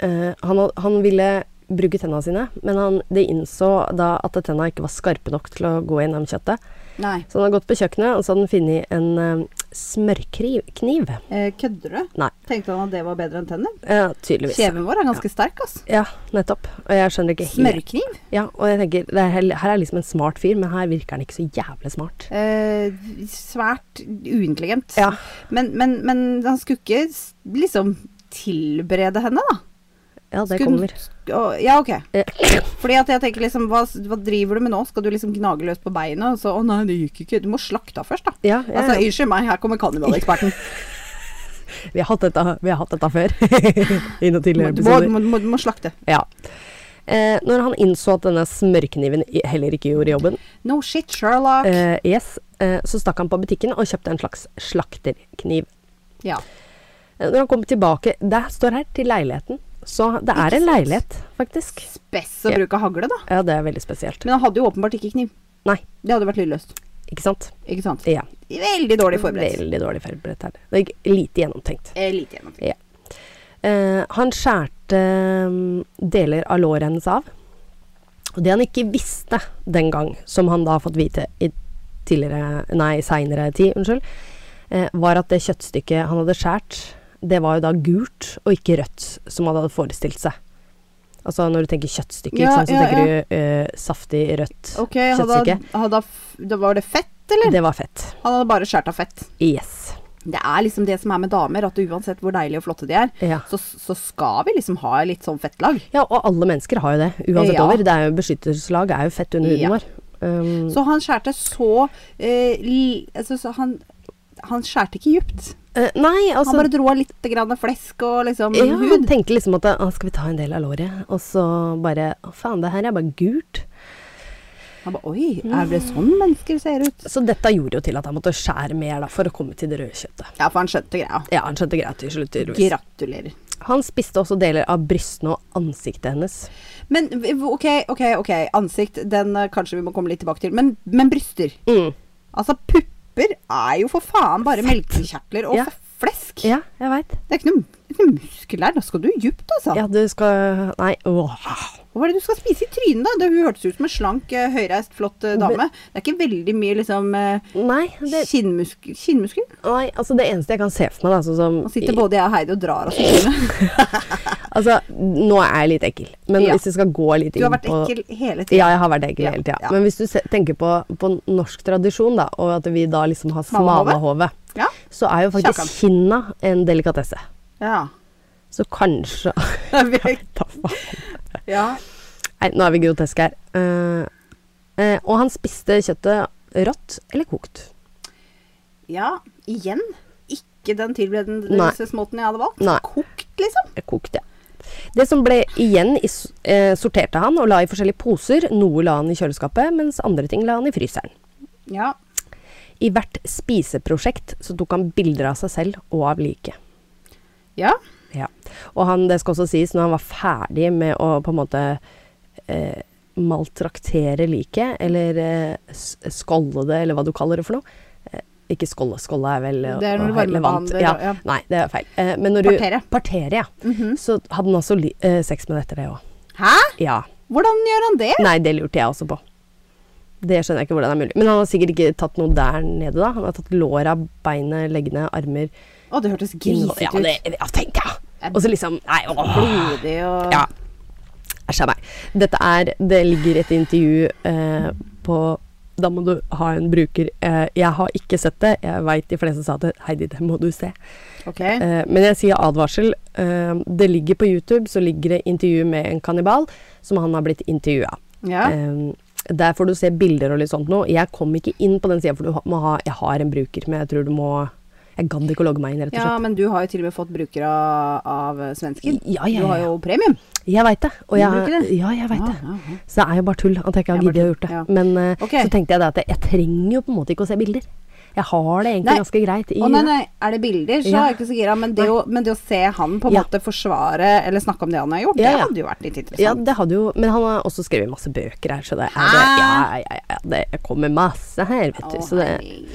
A: eh, han, had- han ville bruke tenna sine, men han, de innså da at tenna ikke var skarpe nok til å gå gjennom kjøttet.
B: Nei.
A: Så han hadde gått på kjøkkenet, og så hadde han funnet en eh, smørkniv. Kniv.
B: Eh, kødder du?
A: Nei.
B: Tenkte han at det var bedre enn tenner?
A: Ja, Eh, tydeligvis.
B: Kjeven vår er ganske sterk, ass.
A: Ja, nettopp. Og jeg skjønner ikke helt
B: Smørkniv?
A: ja, Og jeg tenker, det er, hel- Her er liksom en smart fyr, men her virker han ikke så jævlig smart.
B: Eh, svært uintelligent.
A: Ja.
B: Men, men, men han skulle ikke s- liksom tilberede henne, da?
A: Ja, det
B: Skulle-
A: kommer.
B: sk- å, Ja, ok.
A: Eh,
B: Fordi at jeg tenker liksom, hva, hva driver du med nå? Skal du liksom gnage løs på beinet? Og så, å nei, det gikk ikke. Du må slakte av først, da.
A: Ja, ja,
B: Altså,
A: ja.
B: unnskyld meg, her kommer kannibaleksperten.
A: Vi har hatt dette, vi har hatt dette før. I noen
B: Du
A: tidligere
B: må,
A: episoder.
B: må, må, må slakte.
A: Ja. Eh, når han innså at denne smørkniven i- heller ikke gjorde jobben,
B: No shit, Sherlock.
A: eh, yes, eh, så stakk han på butikken og kjøpte en slags slakterkniv.
B: ja.
A: Eh, når han kom tilbake Det står her til leiligheten. Så det er en leilighet, faktisk.
B: Spess å
A: Ja.
B: bruke hagle, da.
A: Ja, det er veldig spesielt.
B: Men han hadde jo åpenbart ikke kniv.
A: Nei,
B: Det hadde vært lydløst.
A: ikke sant?
B: Ikke sant?
A: Ja.
B: Veldig dårlig forberedt.
A: Veldig dårlig forberedt her. Det gikk lite gjennomtenkt.
B: Eh, lite gjennomtenkt.
A: Ja. Eh, han skjærte mm, deler av låret hennes av. Og det han ikke visste den gang, som han da har fått vite i tidligere, nei, seinere tid, unnskyld, eh, var at det kjøttstykket han hadde skjært, det var jo da gult og ikke rødt, som han hadde forestilt seg. Altså når du tenker kjøttstykke,
B: Ja,
A: ikke sant, så
B: ja,
A: tenker du eh, saftig rødt
B: Ok, hadde,
A: kjøttstykke.
B: hadde, da var det fett, eller?
A: Det var fett.
B: Han hadde bare skjært av fett.
A: Yes.
B: Det er liksom det som er med damer, at uansett hvor deilige og flotte de er,
A: Ja.
B: så, så skal vi liksom ha litt sånn fettlag.
A: Ja, og alle mennesker har jo det, uansett
B: Ja.
A: over. Det er jo Beskyttelseslag er jo fett under huden
B: Ja.
A: vår. Um,
B: Så han skjærte så eh, li, altså, så han, han skjærte ikke djupt.
A: eh, nei, altså
B: han bare dro av litt grann flesk og liksom
A: ja, Han
B: hud.
A: tenkte liksom at ah, skal vi ta en del av låret? Og så bare Å, faen, det her er bare gult.
B: Han bare Oi, er det sånn mennesker ser ut?
A: Så dette gjorde jo til at han måtte skjære mer da, for å komme til det røde kjøttet.
B: Ja, for han skjønte greia.
A: Ja, han skjønte greit til slutt. tydeligvis.
B: Gratulerer.
A: Han spiste også deler av brystene og ansiktet hennes.
B: Men v- v- OK, OK, ok, ansikt, den eh, kanskje vi må komme litt tilbake til. Men, men bryster.
A: Mm.
B: Altså, pupper er jo for faen bare melkekjertler og
A: Ja.
B: f- flesk.
A: Ja, jeg veit.
B: Det er ikke noe, ikke noe muskel her. Da skal du djupt, altså.
A: Ja, du skal Nei, åh.
B: Hva er det du skal spise i trynet, da? Det, hun hørtes ut som en slank, eh, høyreist, flott eh, dame. Det er ikke veldig mye liksom eh,
A: Nei, det,
B: kinnmuskel. kinnmuskel?
A: nei, altså det eneste jeg kan se for meg, da, sånn som
B: Nå sitter både jeg og Heidi og drar oss i trynet.
A: Altså, nå er jeg litt ekkel, men
B: Ja.
A: hvis vi skal gå litt
B: Du
A: inn
B: har vært
A: på
B: ekkel hele tiden.
A: Ja, jeg har vært ekkel
B: Ja,
A: hele tida.
B: ja.
A: Men hvis du se, tenker på, på norsk tradisjon, da, og at vi da liksom har
B: Smalahove?
A: smalahove,
B: Ja.
A: så er jo faktisk
B: Kjakan.
A: kinna en delikatesse.
B: Ja.
A: Så kanskje
B: Det er vi-
A: Ta faen.
B: ja.
A: Nei, nå er vi groteske her. Eh, eh, og han spiste kjøttet rått eller kokt.
B: ja. Igjen. Ikke
A: Nei.
B: den tilberedelsesmåten jeg hadde valgt.
A: Nei.
B: Kokt, liksom.
A: Eh, Kokt, ja. Det som ble igjen, i, s- eh, sorterte han og la i forskjellige poser. Noe la han i kjøleskapet, mens andre ting la han i fryseren.
B: Ja.
A: I hvert spiseprosjekt så tok han bilder av seg selv og av liket.
B: Ja.
A: Ja. Og han, det skal også sies, når han var ferdig med å på en måte eh, maltraktere liket, eller eh, s- skålde det, eller hva du kaller det for noe. Eh, ikke skålde, skålde er vel eh,
B: Det er når
A: å
B: du
A: ha
B: varmebehandler,
A: relevant. Ja.
B: ja.
A: Nei, det er feil. Eh, men når du
B: Partere. Mhm.
A: Partere, ja. Så hadde han også li eh, sex med det etter det òg.
B: Hæ?
A: Ja.
B: Hvordan gjør han det?
A: Nei, det lurte jeg også på. Det skjønner jeg ikke hvordan det er mulig. Men han har sikkert ikke tatt noe der nede, da. Han har tatt låra, beinet, leggene, armer
B: Å, det hørtes
A: innhold-
B: grisete
A: Ja, det ja, tenker jeg!
B: Jeg-
A: Og så liksom Nei,
B: ut.
A: åh.
B: Blodig og
A: Ja. Æsj a meg. Dette er Det ligger et intervju eh, på Da må du ha en bruker. Eh, jeg har ikke sett det. Jeg veit de fleste sa det. Heidi, det må du se.
B: OK.
A: Eh, men jeg sier advarsel. Eh, det ligger på YouTube, så ligger det intervju med en kannibal som han har blitt intervjua.
B: Ja.
A: Eh, der får du se bilder og litt sånt noe. Jeg kom ikke inn på den sida, for du ha- må ha Jeg har en bruker, men jeg tror du må Jeg gadd ikke å logge meg inn, rett og
B: Ja,
A: slett.
B: men du har jo til og med fått brukere av, av svensken.
A: Ja, ja,
B: Du har
A: ja.
B: jo premium.
A: Jeg veit det. Og
B: Du
A: jeg,
B: bruker det?
A: ja, jeg vet
B: Ja,
A: det.
B: ja, ja.
A: Så det er jo bare tull at jeg ikke har
B: Det er bare
A: giddet å gjøre det.
B: tull,
A: Men eh,
B: Ok.
A: så tenkte jeg det at jeg, jeg trenger jo på en måte ikke å se bilder. Jeg har det egentlig
B: Nei.
A: ganske greit i
B: Å nei,
A: huet.
B: nei, er det bilder, så
A: Ja.
B: er jeg ikke så gira. Men det, å, men det å se han på en
A: Ja.
B: måte forsvare eller snakke om det han har
A: Ja,
B: gjort, det
A: ja.
B: hadde jo vært litt
A: Ja,
B: interessant.
A: det hadde jo Men han har også skrevet masse bøker her, så det er det,
B: Hæ?
A: ja, ja, ja, det kommer masse her, vet du.
B: Å,
A: Så det
B: herregud.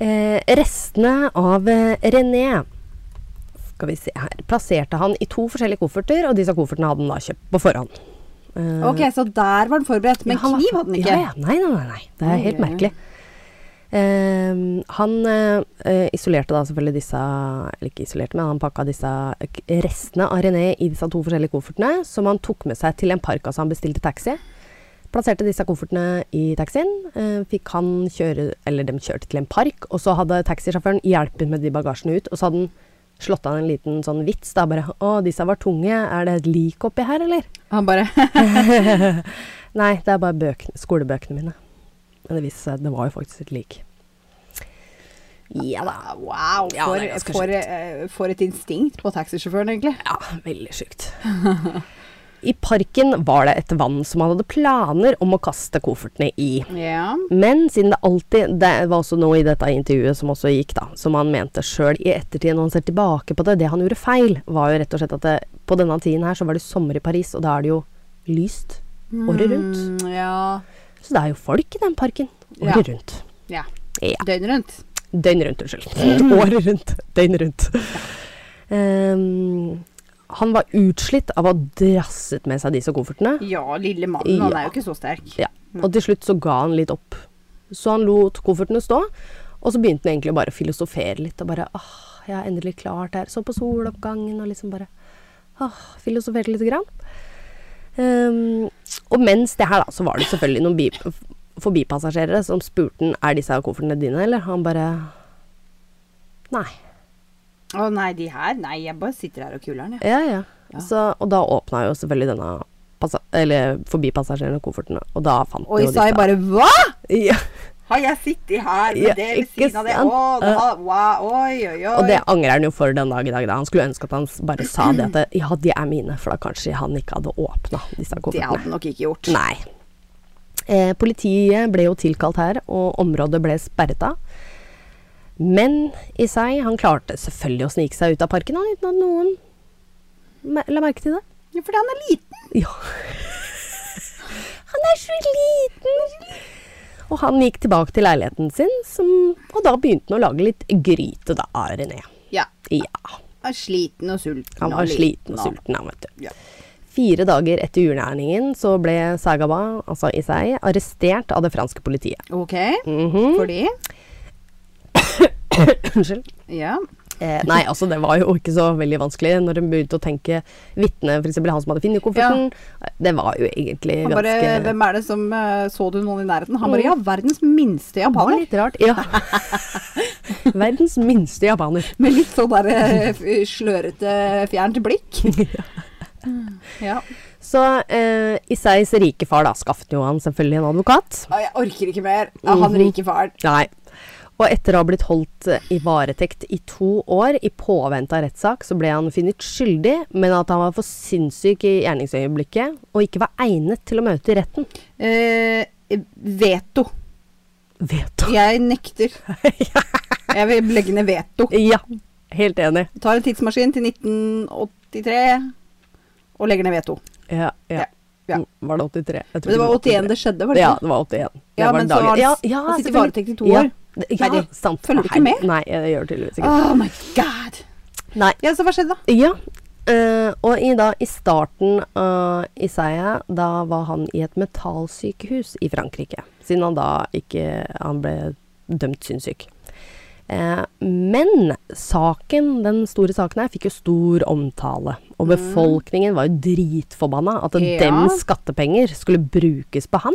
A: eh, Restene av eh, René skal vi se her, plasserte han i to forskjellige kofferter, og disse koffertene hadde han da kjøpt på forhånd. Eh,
B: Ok, så der var han forberedt, men
A: Ja, han var-
B: kniv hadde han ikke.
A: Ja, ja. Nei, nei, nei, nei. Det er helt
B: Oi, oi, oi.
A: merkelig. Ehm, han eh, eh, isolerte da selvfølgelig disse Eller ikke isolerte, men han pakka disse k- restene av René i disse to forskjellige koffertene, som han tok med seg til en park. Altså han bestilte taxi. Plasserte disse koffertene i taxien. eh, fikk han kjøre Eller dem kjørte til en park, og så hadde taxisjåføren hjulpet med de bagasjene ut. Og så hadde han slått an en liten sånn vits, da. Bare 'Å, disse var tunge. Er det et lik oppi her, eller?'
B: Han bare
A: Nei, det er bare bøkene- skolebøkene mine. Men det viste seg at det var jo faktisk et lik. Ja da.
B: Wow,
A: Ja,
B: for,
A: det er ganske
B: for,
A: sjukt.
B: eh, for et instinkt på taxisjåføren, egentlig.
A: Ja, veldig sjukt. I parken var det et vann som han hadde planer om å kaste koffertene i.
B: Ja.
A: Men siden det alltid Det var også noe i dette intervjuet som også gikk, da. Som han mente sjøl i ettertid, når han ser tilbake på det. Det han gjorde feil, var jo rett og slett at det, på denne tiden her så var det sommer i Paris, og da er det jo lyst året rundt.
B: Mm, ja.
A: Så det er jo folk i den parken
B: Ja.
A: året rundt.
B: ja.
A: Ja.
B: Døgnet rundt.
A: Døgn rundt, unnskyld. Året rundt. Døgn rundt. Ehm, han var utslitt av å ha drasset med seg disse koffertene,
B: Ja, lille mannen,
A: Ja.
B: han er jo ikke så sterk.
A: ja. og til slutt så ga han litt opp. Så han lot koffertene stå, og så begynte han egentlig bare å filosofere litt, og bare åh, jeg har endelig klart det her. Så på soloppgangen og liksom bare åh, filosoferte lite grann. Ehm, og mens det her, da, så var det selvfølgelig noen bi forbipassasjerere som spurte han er disse koffertene dine, eller? Han bare Nei.
B: Å nei, de her? Nei, jeg bare sitter her og kuler'n, jeg.
A: Ja, ja.
B: Ja.
A: Så, og da åpna jo selvfølgelig denne passa eller forbipassasjerene og koffertene. Og da fant
B: Og
A: jo
B: Isai
A: disse.
B: bare Hva?!
A: ja.
B: Har jeg sittet her med
A: Ja,
B: det ved
A: ikke
B: siden av det?
A: sant?
B: Å, da, wow, oi, oi, oi.
A: Og det angrer han jo for den dag i dag. da. Han skulle ønske at han s- bare sa det at det- ja, de er mine, for da kanskje han ikke hadde åpna disse
B: Det hadde
A: koffertene.
B: han nok ikke gjort.
A: Nei. Eh, politiet ble jo tilkalt her, og området ble sperret av. Men i seg, han klarte selvfølgelig å snike seg ut av parken han, uten at noen mer- la merke til det.
B: Jo, Fordi han er liten.
A: Ja. Han er så liten! Og han gikk tilbake til leiligheten sin, som, og da begynte han å lage litt gryte da, av René.
B: Ja.
A: Ja,
B: Han er sliten og sulten.
A: han
B: og
A: var sliten og
B: og-
A: sulten, han, vet du.
B: Ja.
A: Fire dager etter jordnæringen så ble Sagaba, altså Isai, arrestert av det franske politiet.
B: Ok.
A: Mhm.
B: Fordi
A: Unnskyld.
B: Ja.
A: Eh, nei, altså det var jo ikke så veldig vanskelig når en begynte å tenke vitne, f.eks. han som hadde funnet kofferten. Det var jo egentlig
B: Han bare,
A: ganske
B: Hvem er det som eh, Så du noen i nærheten? Han bare Ja, verdens minste
A: Det var
B: Mm. japaner.
A: litt rart. Ja. Verdens minste japaner.
B: Med litt sånn der eh, f- slørete, fjernt blikk. Ja.
A: Så eh, Isais rike far da, skaffet jo han selvfølgelig en advokat.
B: Å, Jeg orker ikke mer av han rike faren.
A: Nei. Og etter å ha blitt holdt eh, i varetekt i to år i påvente av rettssak, så ble han funnet skyldig, men at han var for sinnssyk i gjerningsøyeblikket og ikke var egnet til å møte i retten.
B: Eh, veto.
A: Vet du?
B: Jeg nekter. Jeg vil legge ned veto.
A: Ja. Helt enig.
B: Tar en tidsmaskin til 1983 og legger ned veto.
A: Ja,
B: Ja,
A: ja.
B: ja.
A: Mm, Var det 83? Jeg tror
B: Men det var 81 det skjedde, var det
A: Ja,
B: ikke?
A: det var 81. Det
B: Ja,
A: var
B: men så
A: dagen-
B: har han-
A: ja, ja,
B: han sitter i
A: selvfølgelig.
B: varetekt i to år.
A: Ja, det- ja
B: Herregud.
A: sant.
B: Følger du ikke
A: Herregud.
B: med?
A: Nei, jeg gjør tydeligvis ikke det.
B: Oh my god!
A: Nei.
B: Ja, så hva skjedde da?
A: Ja, eh, og i, da, i starten av Isaiah, da var han i et metallsykehus i Frankrike. Siden han da ikke han ble dømt sinnssyk. Eh, men saken, den store saken her fikk jo stor omtale. Og befolkningen var jo dritforbanna at
B: Ja.
A: dems skattepenger skulle brukes på han.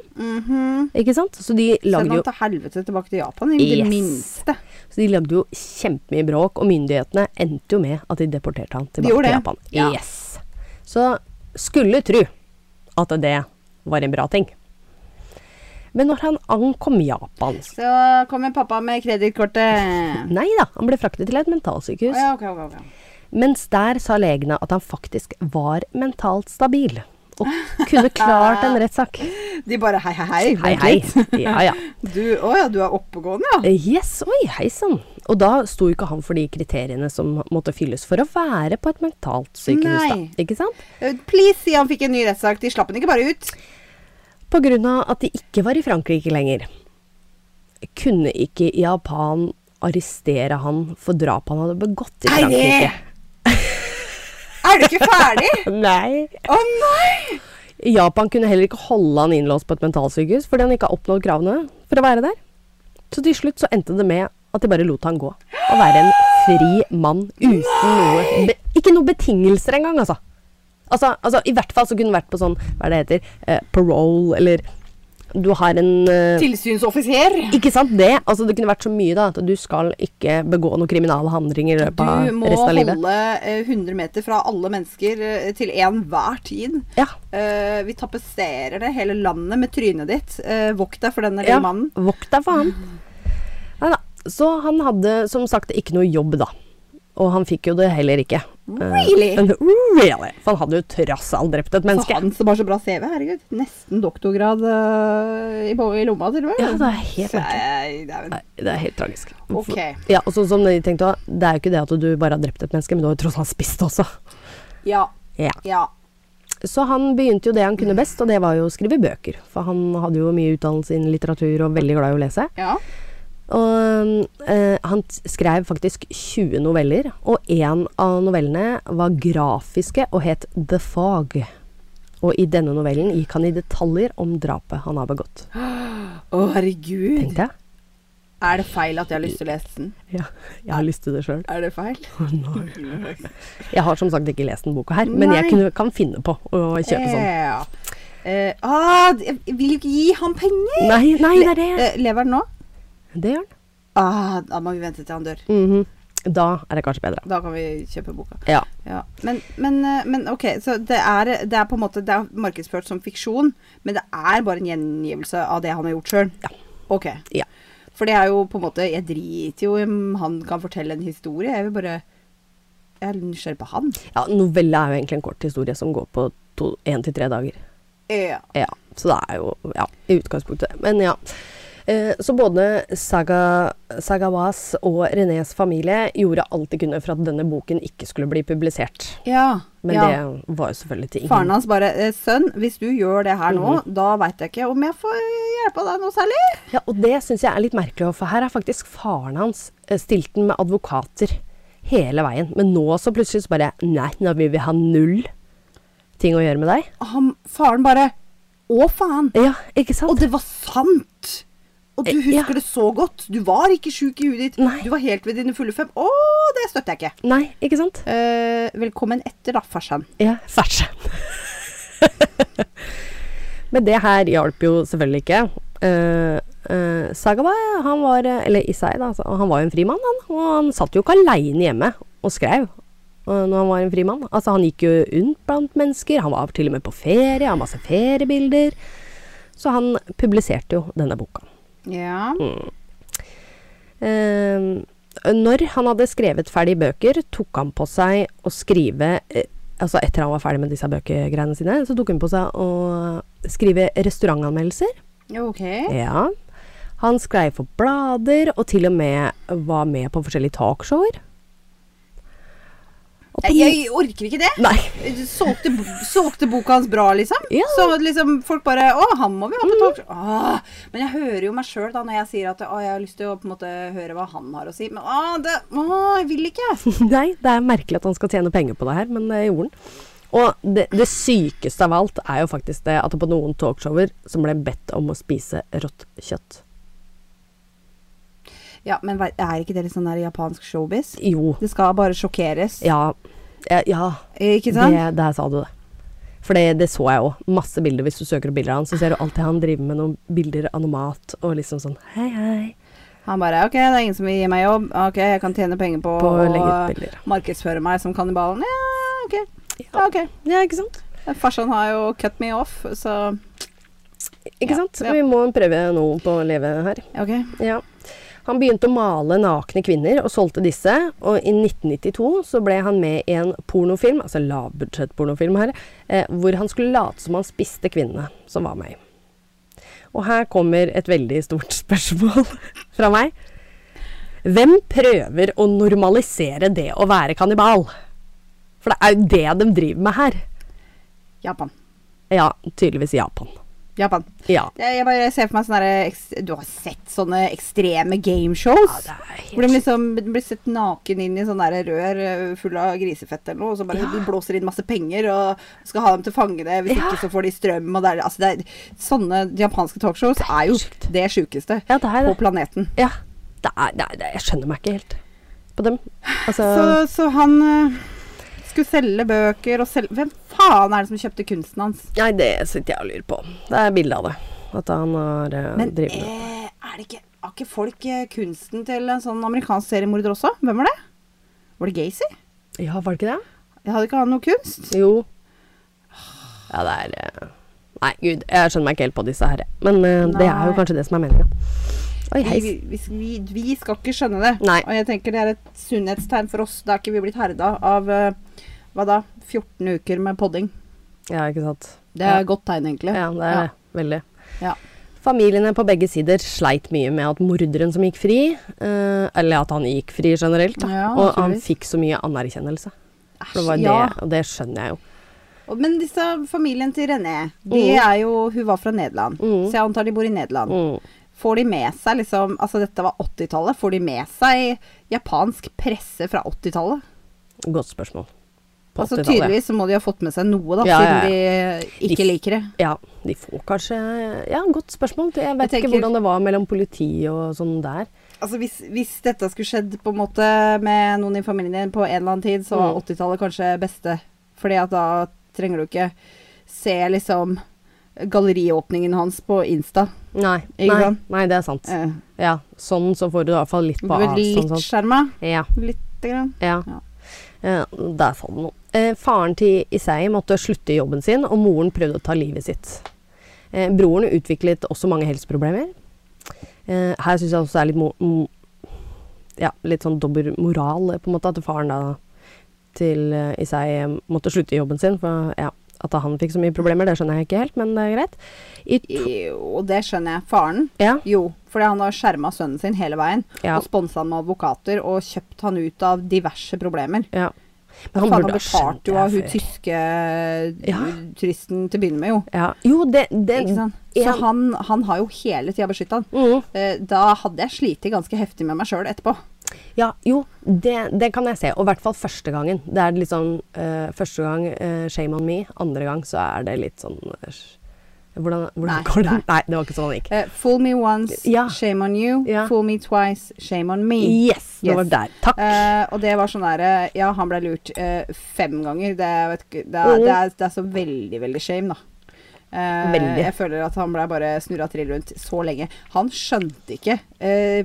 A: Ikke sant? Så de
B: Mhm. Send
A: lagde jo
B: han til helvete tilbake til Japan, i det
A: Yes.
B: minste.
A: så de lagde jo kjempemye bråk, og myndighetene endte jo med at de deporterte han tilbake til
B: gjorde det.
A: Japan.
B: Ja.
A: Yes. Så skulle tru at det var en bra ting. Men når han ankom Japan så-
B: Så kommer pappa med kredittkortet.
A: Nei da, han ble fraktet til et
B: Å
A: mentalsykehus.
B: ja, ok, ok, ok.
A: Mens der sa legene at han faktisk var mentalt stabil. Og kunne klart en rettssak.
B: De bare hei, hei,
A: Hei,
B: hei. vent
A: hei.
B: litt.
A: Ja, ja.
B: Du, å ja, du er oppegående, ja.
A: Eh, Yes, oi, hei sann. Og da sto jo ikke han for de kriteriene som måtte fylles for å være på et mentalt sykehus,
B: Nei.
A: da. Ikke sant?
B: Eh, Please, si han fikk en ny rettssak. De slapp han ikke bare ut.
A: På grunn av at de ikke var i Frankrike lenger, kunne ikke Japan arrestere han for drap han hadde begått i
B: Nei, det-
A: Frankrike.
B: Er du ikke ferdig?
A: Nei!
B: Å nei!
A: Japan kunne heller ikke holde han innlåst på et mentalsykehus fordi han ikke har oppnådd kravene for å være der. Så til slutt så endte det med at de bare lot han gå. Og være en fri mann uten noe be, Ikke noen betingelser engang, altså. altså. Altså, I hvert fall så kunne han vært på sånn, hva er det det heter, eh, parole, eller Du har en eh,
B: Tilsynsoffiser.
A: Ikke sant det? Altså, det kunne vært så mye da, at du skal ikke begå noen kriminale handlinger i løpet
B: Du
A: av
B: må
A: resten av
B: holde
A: livet.
B: eh, 100 meter fra alle mennesker eh, til enhver tid.
A: Ja.
B: Eh, vi tapetserer det hele landet med trynet ditt. Eh, vokt deg for denne lille
A: ja.
B: mannen.
A: Vokt deg for han. Nei da. Så han hadde som sagt ikke noe jobb, da. Og han fikk jo det heller ikke. Eh,
B: Really?
A: men- really? For han hadde jo trass alt drept et
B: For
A: menneske.
B: han som har så bra CV. Herregud. Nesten doktorgrad eh, i, bo- i lomma, til og med.
A: Ja, det er helt merkelig.
B: Nei, det er
A: Nei,
B: vel-
A: Det er helt tragisk.
B: Ok.
A: Ja, og sånn som de tenkte også, Det er jo ikke det at du bare har drept et menneske, men du har jo tross alt spist også.
B: Ja.
A: Ja.
B: Ja.
A: Så han begynte jo det han kunne best, og det var jo å skrive bøker. For han hadde jo mye utdannelse innen litteratur og veldig glad i å lese.
B: ja.
A: Og eh, han t- skrev faktisk 20 noveller, og en av novellene var grafiske og het The Fog. Og i denne novellen gikk han i detaljer om drapet han har begått.
B: Å, herregud.
A: Tenkte jeg.
B: Er det feil at jeg har lyst til å lese den?
A: Ja, jeg har lyst til det sjøl.
B: Er det feil?
A: Jeg har som sagt ikke lest den boka her, men
B: Nei.
A: jeg kunne, kan finne på å kjøpe sånn.
B: Ja. Eh, ah, d- jeg vil jo ikke gi han penger!
A: Nei, nei, det er det.
B: Eh, lever han nå?
A: Det gjør den.
B: Ah, da må vi vente til han dør.
A: Mhm. Da er det kanskje bedre.
B: Da kan vi kjøpe boka.
A: Ja.
B: Men, men, eh, men ok, så det er, det er på en måte det er markedsført som fiksjon, men det er bare en gjengivelse av det han har gjort sjøl?
A: Ja.
B: Ok.
A: Ja.
B: For det er jo på en måte Jeg driter jo i om han kan fortelle en historie, jeg vil bare Jeg er nysgjerrig på han.
A: ja novelle er jo egentlig en kort historie som går på to- én til tre dager.
B: Ja.
A: Ja, så det er jo ja, i utgangspunktet. Men ja. Eh, Så både Saga, Sagawas og Renés familie gjorde alt de kunne for at denne boken ikke skulle bli publisert.
B: ja.
A: Men
B: ja.
A: det var jo selvfølgelig til ingen
B: Faren hans bare eh, 'Sønn, hvis du gjør det her nå,
A: Mhm.
B: da veit jeg ikke om jeg får hjelpe deg noe særlig'.
A: Ja, og det syns jeg er litt merkelig, for her har faktisk faren hans eh, stilt den med advokater hele veien. Men nå så plutselig så bare Nei, nå vil vi ha null ting å gjøre med deg.
B: Han, faren bare 'Å, faen'.
A: Ja, ikke sant?
B: Og det var sant! Og du
A: Eh, ja.
B: husker det så godt. Du var ikke sjuk i huet ditt.
A: Nei.
B: Du var helt ved dine fulle fem. Å, det støtter jeg ikke.
A: Nei, ikke sant?
B: Eh, velkommen etter, da, farsan.
A: Ja, fersen. Men det her hjalp jo selvfølgelig ikke. Uh, Sagaba, han var eh, Eller Isai, da. så Han var jo en frimann, han. Og han satt jo ikke aleine hjemme og skrev eh, når han var en frimann. Altså, han gikk jo rundt blant mennesker. Han var til og med på ferie, han har masse feriebilder. Så han publiserte jo denne boka.
B: Ja.
A: Mm. Eh, når han hadde skrevet ferdig bøker, tok han på seg å skrive eh, Altså etter han var ferdig med disse bøkegreiene sine, så tok han på seg å skrive restaurantanmeldelser.
B: Ok.
A: Ja. Han skrev for blader, og til og med var med på forskjellige talkshower. Og på-
B: Jeg, jeg orker ikke det.
A: Nei.
B: Solgte, solgte boka hans bra, liksom?
A: Ja.
B: Så liksom folk bare Å, han må vi ha på talk. Åh, Men jeg hører jo meg sjøl da når jeg sier at å, jeg har lyst til å på en måte høre hva han har å si. Men å, det, å jeg vil ikke.
A: Nei, det er merkelig at han skal tjene penger på det her, men det gjorde han. Og det, det sykeste av alt er jo faktisk det at på noen talkshower så ble han bedt om å spise rått kjøtt.
B: Ja, men vei- er ikke det litt sånn der japansk showbiz?
A: Jo,
B: Det skal bare sjokkeres.
A: Ja. Ja, ja
B: Eh, Ikke sant?
A: det, der sa du det. For det, det så jeg òg. Masse bilder. Hvis du søker opp bilder av han, så ser du alltid han driver med noen bilder av noe mat og liksom sånn hei, hei.
B: Han bare OK, det er ingen som vil gi meg jobb. OK, jeg kan tjene penger på,
A: På å legge ut
B: å
A: bilder.
B: markedsføre meg som kannibalen. Ja, OK. Ja, ok.
A: Ja, ikke sant?
B: Farsan har jo cut me off, så
A: Ikke
B: Ja,
A: sant?
B: ja.
A: Vi må prøve noe på å leve her.
B: OK.
A: Ja. Han begynte å male nakne kvinner og solgte disse, og i 1992 så ble han med i en pornofilm, altså lavbudsjettpornofilm her, eh, hvor han skulle late som han spiste kvinnene som var med i. Og her kommer et veldig stort spørsmål fra meg. Hvem prøver å normalisere det å være kannibal? For det er jo det de driver med her.
B: Japan.
A: Ja, tydeligvis Japan.
B: Japan.
A: Ja.
B: Det- Jeg bare ser for meg sånne der eks- Du har sett sånne ekstreme gameshows?
A: Ja, det er helt
B: hvor de liksom blir sett naken inn i sånne der rør eh, full av grisefett eller noe, og så bare de blåser inn masse penger og skal ha dem til fange det, hvis
A: Ja.
B: ikke så får de strøm og det er altså det er, Sånne japanske talkshows er jo
A: sjukt.
B: det sjukeste
A: Ja, det er
B: på
A: det.
B: planeten.
A: Ja. Det er, det er, det er, jeg skjønner meg ikke helt på dem. Altså,
B: Så, så han eh, skulle selge bøker og selge Hvem faen er det som kjøpte kunsten hans?
A: Nei, det sitter jeg og lurer på. Det er bilde av det. At han har eh,
B: Men
A: drevet med det.
B: eh, er det ikke Har ikke folk eh, kunsten til en sånn amerikansk seriemorder også? Hvem var det? Var det Gacy?
A: Ja, var det ikke det?
B: Jeg hadde ikke han noe kunst?
A: Jo. Ja, det er eh, Nei, gud, jeg skjønner meg ikke helt på disse her. jeg. Men eh, det er jo
B: Nei.
A: kanskje det som er meninga. Oi,
B: Vi,
A: hei.
B: vi, vi- vi, vi skal ikke skjønne det.
A: Nei.
B: Og jeg tenker det er et sunnhetstegn for oss. Da er ikke vi blitt herda av eh, hva da? 14 uker med podding.
A: Ja, ikke sant.
B: Det
A: Ja.
B: er et godt tegn, egentlig.
A: Ja, det er det. Veldig.
B: Ja.
A: Familiene på begge sider sleit mye med at morderen som gikk fri, eh, eller at han gikk fri generelt, da,
B: Ja,
A: og han
B: naturligvis.
A: fikk så mye anerkjennelse. For det var jo
B: ja.
A: det, og det skjønner jeg jo.
B: Og- Men disse familien til René, de
A: Mm.
B: er jo Hun var fra Nederland,
A: Mm.
B: så jeg antar de bor i Nederland.
A: Mm.
B: Får de med seg liksom Altså, dette var 80-tallet. Får de med seg japansk presse fra 80-tallet?
A: Godt spørsmål. På
B: Altså
A: 80-tallet.
B: tydeligvis så må de ha fått med seg noe, da,
A: Ja, ja,
B: siden de ikke
A: De-
B: liker det.
A: Ja, de får kanskje Ja, godt spørsmål. Jeg vet
B: tenker-
A: ikke hvordan det var mellom politi og sånn der.
B: Altså hvis, hvis dette skulle skjedd på en måte med noen i familien din på en eller annen tid, så var
A: Mm.
B: 80-tallet kanskje beste. Fordi at da trenger du ikke se liksom galleriåpningen hans på Insta.
A: Nei,
B: Ikke
A: nei,
B: sant?
A: nei det er sant.
B: Eh,
A: Ja, sånn så får du i hvert fall litt
B: du
A: på
B: blir
A: avstand.
B: litt
A: Sånn.
B: skjerma.
A: Ja.
B: Litt Lite grann.
A: Ja.
B: Ja.
A: Eh, der falt det noe. Eh, faren til Isai måtte slutte i jobben sin, og moren prøvde å ta livet sitt. Eh, broren utviklet også mange helseproblemer. Eh, her syns jeg også det er litt, mo mo ja, litt sånn dobbel moral, eh, på en måte, at faren da til eh, Isai eh, måtte slutte i jobben sin. For ja, at han fikk så mye problemer, det skjønner jeg ikke helt, men det er greit. I to
B: Jo, og det skjønner jeg. Faren?
A: ja,
B: Jo, fordi han har skjerma sønnen sin hele veien.
A: ja,
B: Og sponsa han med advokater og kjøpt han ut av diverse problemer.
A: ja.
B: Han, Faen, han
A: skjønt
B: betalte jo av hun
A: før.
B: tyske eh,
A: Ja.
B: turisten til å begynne med, jo.
A: Ja. Jo, det, det
B: Ikke sant? Så
A: en-
B: han, han har jo hele tida beskytta han.
A: mm.
B: Eh, Da hadde jeg slitt ganske heftig med meg sjøl etterpå.
A: Ja, jo, det, det kan jeg se. Og i hvert fall første gangen. Det er litt sånn eh, Første gang eh, shame on me, andre gang så er det litt sånn eh, Hvordan, hvordan
B: Nei,
A: går det?
B: nei.
A: Nei, det var ikke sånn det gikk.
B: Eh, fool me once,
A: Ja.
B: shame on you.
A: Ja.
B: Fool me twice, shame on me.
A: Yes, det
B: Yes.
A: var der. Takk.
B: Eh, og det var sånn derre Ja, han ble lurt eh, fem ganger. Det, er- vet, ikke- det, er,
A: Mhm.
B: det, er, det er så veldig, veldig shame, da. Eh,
A: Veldig.
B: Jeg føler at han ble bare snurra trill rundt så lenge. Han skjønte ikke eh,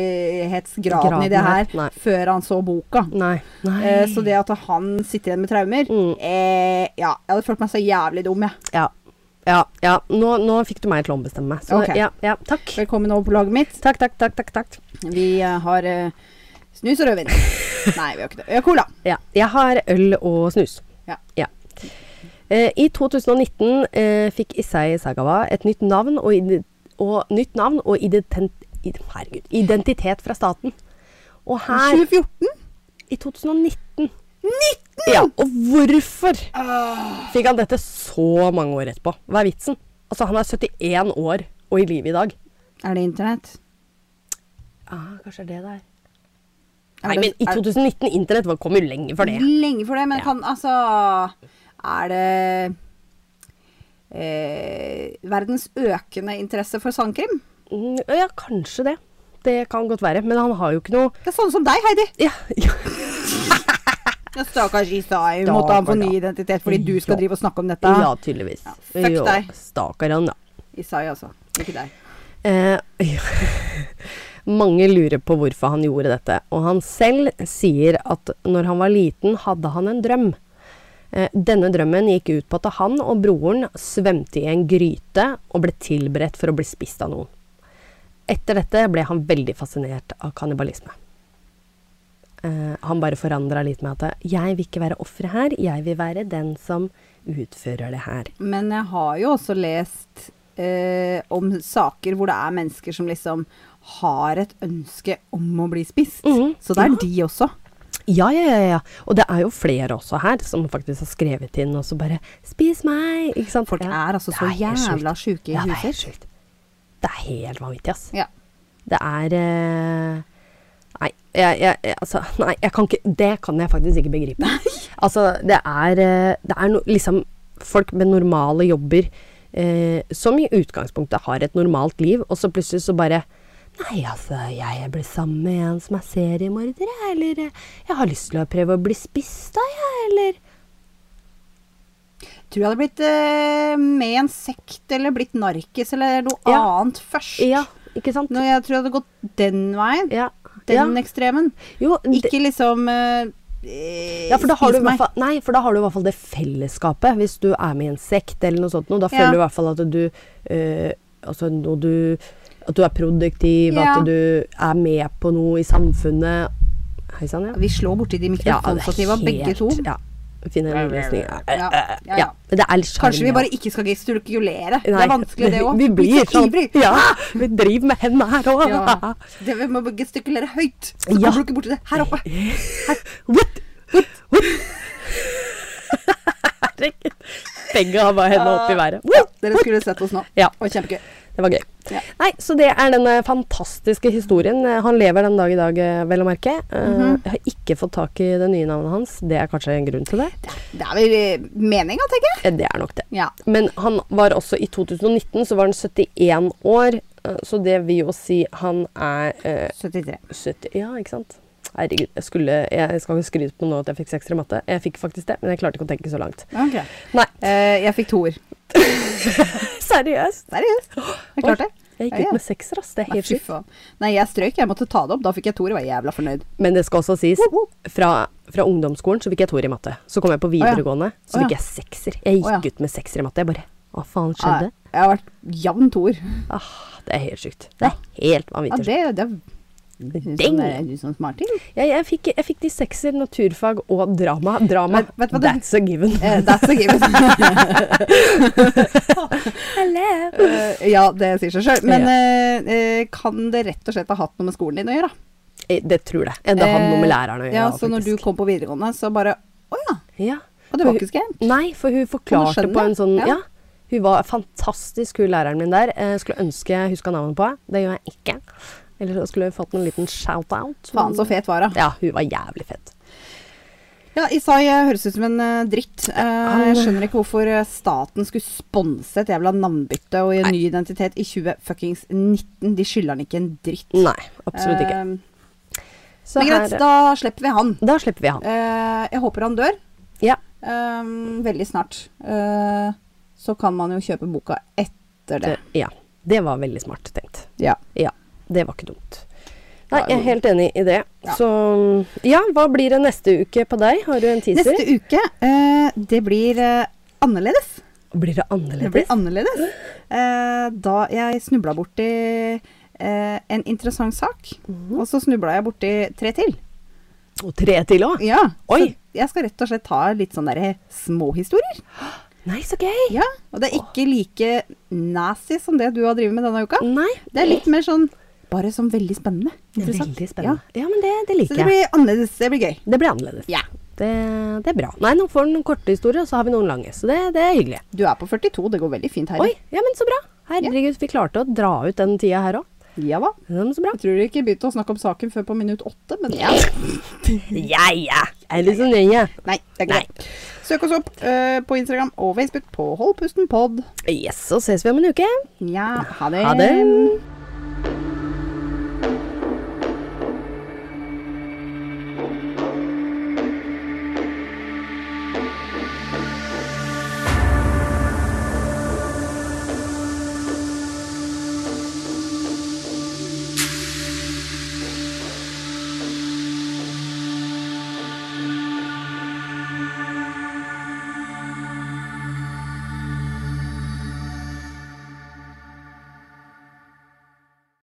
B: alvorlighetsgraden
A: Graden
B: i det her
A: her, nei.
B: før han så boka.
A: Nei. nei.
B: Eh, så det at han sitter igjen med traumer
A: Mm.
B: eh, Ja, jeg hadde følt meg så jævlig dum, jeg.
A: Ja. Ja. ja. Nå, nå fikk du meg til å ombestemme meg. Så
B: Ok.
A: ja, ja. Takk.
B: Velkommen over på laget mitt.
A: Takk, takk, takk. takk, takk.
B: Vi eh, har eh, snus og rødvin. Nei, vi har ikke det. Vi har cola.
A: Ja. Jeg har øl og snus.
B: Ja.
A: Eh, I 2019 eh, fikk Isai Sagawa et nytt navn og, ide- og, nytt navn og identen, id- herregud, identitet fra staten. Og her
B: 2014?
A: i 2019 Ja, Og hvorfor fikk han dette så mange år etterpå? Hva er vitsen? Altså, han er 71 år og i live i dag.
B: Er det internett?
A: Ah, kanskje det der.
B: Er
A: Nei,
B: det-
A: men i
B: er-
A: 2019 Internett var- kom jo lenge før det.
B: Lenge for det, men
A: Ja.
B: kan altså Er det eh, verdens økende interesse for sandkrim?
A: Mm, ja, kanskje det. Det kan godt være. Men han har jo ikke noe
B: Det er sånne som deg, Heidi.
A: Ja, ja.
B: Ja, Stakkars Isai.
A: Da
B: Måtte han
A: var
B: få ny
A: det.
B: identitet fordi du skal
A: Ja.
B: drive og snakke om dette.
A: Ja, tydeligvis.
B: Ja, fuck
A: Jo,
B: deg.
A: Stakkar han, da.
B: Isai, altså. Ikke deg.
A: Eh, ja. mange lurer på hvorfor han gjorde dette, og han selv sier at når han var liten, hadde han en drøm. Eh, denne drømmen gikk ut på at han og broren svømte i en gryte og ble tilberedt for å bli spist av noen. Etter dette ble han veldig fascinert av kannibalisme. Eh, han bare forandra litt med at 'jeg vil ikke være offeret her, jeg vil være den som utfører det her'.
B: Men jeg har jo også lest eh, om saker hvor det er mennesker som liksom har et ønske om å bli spist.
A: Mhm.
B: Så det er de også.
A: Ja, ja, ja, ja. Og det er jo flere også her som faktisk har skrevet inn og så bare 'Spis meg!' Ikke sant?
B: Folk
A: Ja.
B: er altså så
A: Det er helt
B: jævla
A: sjukt.
B: sjuke i
A: Ja, det er
B: huset.
A: helt sjukt. Det er helt vanvittig, ass.
B: Ja.
A: Det er eh, Nei, jeg, jeg, jeg- altså, nei jeg kan ikke, det kan jeg faktisk ikke begripe. Altså, det er, eh, det er no, liksom folk med normale jobber eh, som i utgangspunktet har et normalt liv, og så plutselig så bare Nei, altså, jeg blir sammen med en som er seriemorder, jeg, eller eh, Jeg har lyst til å prøve å bli spist av, jeg, eller
B: Tror jeg hadde blitt eh, med i en sekt eller blitt narkis eller noe
A: Ja.
B: annet først.
A: Ja, ikke sant?
B: Når jeg tror jeg hadde gått den veien.
A: Ja.
B: Den
A: ja.
B: ekstremen.
A: Jo, det-
B: Ikke liksom eh, eh,
A: Ja, for da, har du
B: spis
A: i hvert
B: meg.
A: fall, nei, for da har du i hvert fall det fellesskapet. Hvis du er med i en sekt eller noe sånt, noe, da
B: Ja.
A: føler du i hvert fall at du, eh, altså, når du At du er produktiv,
B: Ja.
A: at du er med på noe i samfunnet. Hei sann, ja.
B: Vi slår borti de mikrofonstativa, begge to.
A: Ja. Finner en løsning. Ja.
B: Ja, ja, ja.
A: Men Det er litt
B: Kanskje vi
A: sjarmerende.
B: bare ikke skal gestikulere. Det
A: Nei,
B: er vanskelig, det òg.
A: Vi blir
B: så
A: sånn.
B: ivrig. Ah!
A: Ja, vi driver med hendene her òg.
B: Ja. Det, vi må gestikulere høyt. Så
A: Ja.
B: kommer du ikke borti det. Her oppe.
A: Eh, What? What? Herregud. Begge har bare hendene opp i været.
B: Ja, dere skulle sett oss nå.
A: Ja.
B: Og kjempegøy.
A: Det var gøy.
B: Ja.
A: Nei, så det er denne fantastiske historien. Eh, Han lever den dag i dag, eh, vel å merke. Eh,
B: Mhm.
A: Jeg har ikke fått tak i det nye navnet hans. Det er kanskje en grunn til det.
B: Det er vel eh, meninga, tenker jeg.
A: Eh, Det er nok det.
B: Ja.
A: Men han var også i 2019, så var han 71 år. eh, Så det vil jo si han er eh,
B: 73.
A: 70 Ja, ikke sant? Herregud, jeg, skulle, jeg skal ikke skryte på nå at jeg fikk sekser i matte. Jeg fikk faktisk det, men jeg klarte ikke å tenke så langt.
B: Ok.
A: Nei,
B: Eh, jeg fikk toer.
A: seriøst.
B: Seriøst. Jeg klarte det.
A: Jeg gikk
B: Ja, ja.
A: ut med sekser, ass. Det er
B: Nei,
A: helt
B: fy
A: sjukt.
B: faen. Nei, jeg strøk. Jeg måtte ta det opp. Da fikk jeg toer og var jævla fornøyd.
A: Men det skal også sies,
B: Woop, woop.
A: fra, fra ungdomsskolen så fikk jeg toer i matte. Så kom jeg på videregående, så
B: Å, ja.
A: fikk jeg sekser. Jeg
B: Å, ja.
A: gikk ut med sekser i matte. Jeg bare Hva faen skjedde?
B: Nei, Ah, Jeg har vært jevn toer.
A: Ah, det er helt sjukt. Det er helt
B: Ja,
A: vanvittig.
B: det, det
A: Ding!
B: Sånn er du sånn smarting?
A: Jeg, jeg, fikk, jeg fikk de sekser, naturfag og drama. Drama,
B: Vet- vet du hva det-
A: that's a given.
B: Eh, that's a given.
A: Hello!
B: Eh, ja, det sier seg sjøl. Men eh, eh, kan det rett og slett ha hatt noe med skolen din å gjøre?
A: Eh, Det tror jeg. Det har noe med
B: Eh,
A: læreren å gjøre.
B: Ja, så når du
A: faktisk.
B: kom på videregående, så bare Å ja!
A: ja.
B: Og det var ikke skremt.
A: Nei, for hun forklarte
B: skjønner
A: på en
B: det.
A: sånn
B: Ja.
A: ja. hun var fantastisk, hun læreren min der. Eh, skulle ønske jeg huska navnet på henne. Det gjør jeg ikke. Eller så skulle hun fått en liten shout-out.
B: Faen så fet var hun.
A: Mm. Ja, hun var jævlig fett.
B: Ja, Isai eh, høres ut som en eh, dritt. Eh,
A: han-
B: jeg skjønner ikke hvorfor eh, staten skulle sponse et jævla navnbytte og en ny identitet i 2019. De skylder han ikke en dritt.
A: Nei, absolutt ikke.
B: Eh,
A: Så
B: men greit,
A: her,
B: da slipper vi han.
A: da slipper vi han.
B: Eh, jeg håper han dør.
A: Ja.
B: Eh, veldig snart. Eh, så kan man jo kjøpe boka etter det.
A: Det, ja. Det var veldig smart tenkt.
B: Ja.
A: Ja, det var ikke dumt. Nei,
B: Nei,
A: jeg er helt enig i det.
B: Ja.
A: Så ja, hva blir det neste uke på deg? Har du en teaser?
B: Neste uke, eh, det blir eh, annerledes.
A: Blir det
B: Det blir
A: annerledes?
B: annerledes. Eh, da jeg snubla borti eh, en interessant sak,
A: Mhm.
B: og så snubla jeg borti tre til.
A: Og tre til òg?
B: Ja,
A: Oi.
B: Så jeg skal rett og slett ta litt sånn sånne derre småhistorier.
A: Nei, så gøy!
B: Ja, og det er ikke like nasty som det du har drevet med denne uka.
A: Nei.
B: Det er litt mer sånn bare sånn veldig spennende. Interessant.
A: Veldig spennende. Ja, men det, det
B: Ja. Så
A: liker
B: det
A: jeg.
B: blir annerledes. Det blir gøy.
A: Det blir annerledes.
B: Ja.
A: Det, det er bra. Nei, nå får du noen korte historier, og så har vi noen lange. Så det, det er hyggelig.
B: Du er på 42, det går veldig fint her.
A: Oi, ja, men så bra. Herregud, vi klarte å dra ut den tida her òg.
B: Ja hva?
A: Ja, men så bra.
B: Jeg tror ikke begynte å snakke om saken før på minutt åtte, men
A: Ja, ja. Er sånn det så nøye?
B: Nei, det er ikke
A: Nei.
B: det. Søk oss opp eh, på Instagram og Facebook på Holdpustenpod.
A: Yes, så ses vi om en uke.
B: Ja, ha det.
A: Ha det.